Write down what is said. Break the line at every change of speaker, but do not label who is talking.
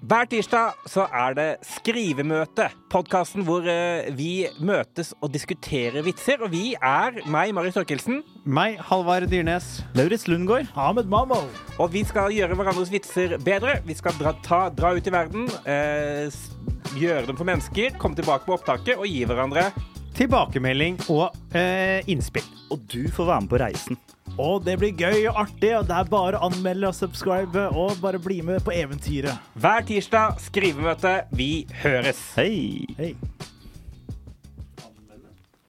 Hver tirsdag så er det Skrivemøte, podkasten hvor eh, vi møtes og diskuterer vitser. Og vi er meg, Marius Thorkildsen,
Meg, Halvard Dyrnes.
Lauritz Lundgaard.
Ahmed Mammo.
og vi skal gjøre hverandres vitser bedre. Vi skal dra, ta, dra ut i verden, eh, s- gjøre dem for mennesker, komme tilbake på opptaket og gi hverandre
Tilbakemelding og eh, innspill.
Og du får være med på reisen.
Og det blir gøy og artig, og det er bare å anmelde og subscribe og bare bli med på eventyret.
Hver tirsdag skrivemøte. Vi høres.
Hei!
Hei.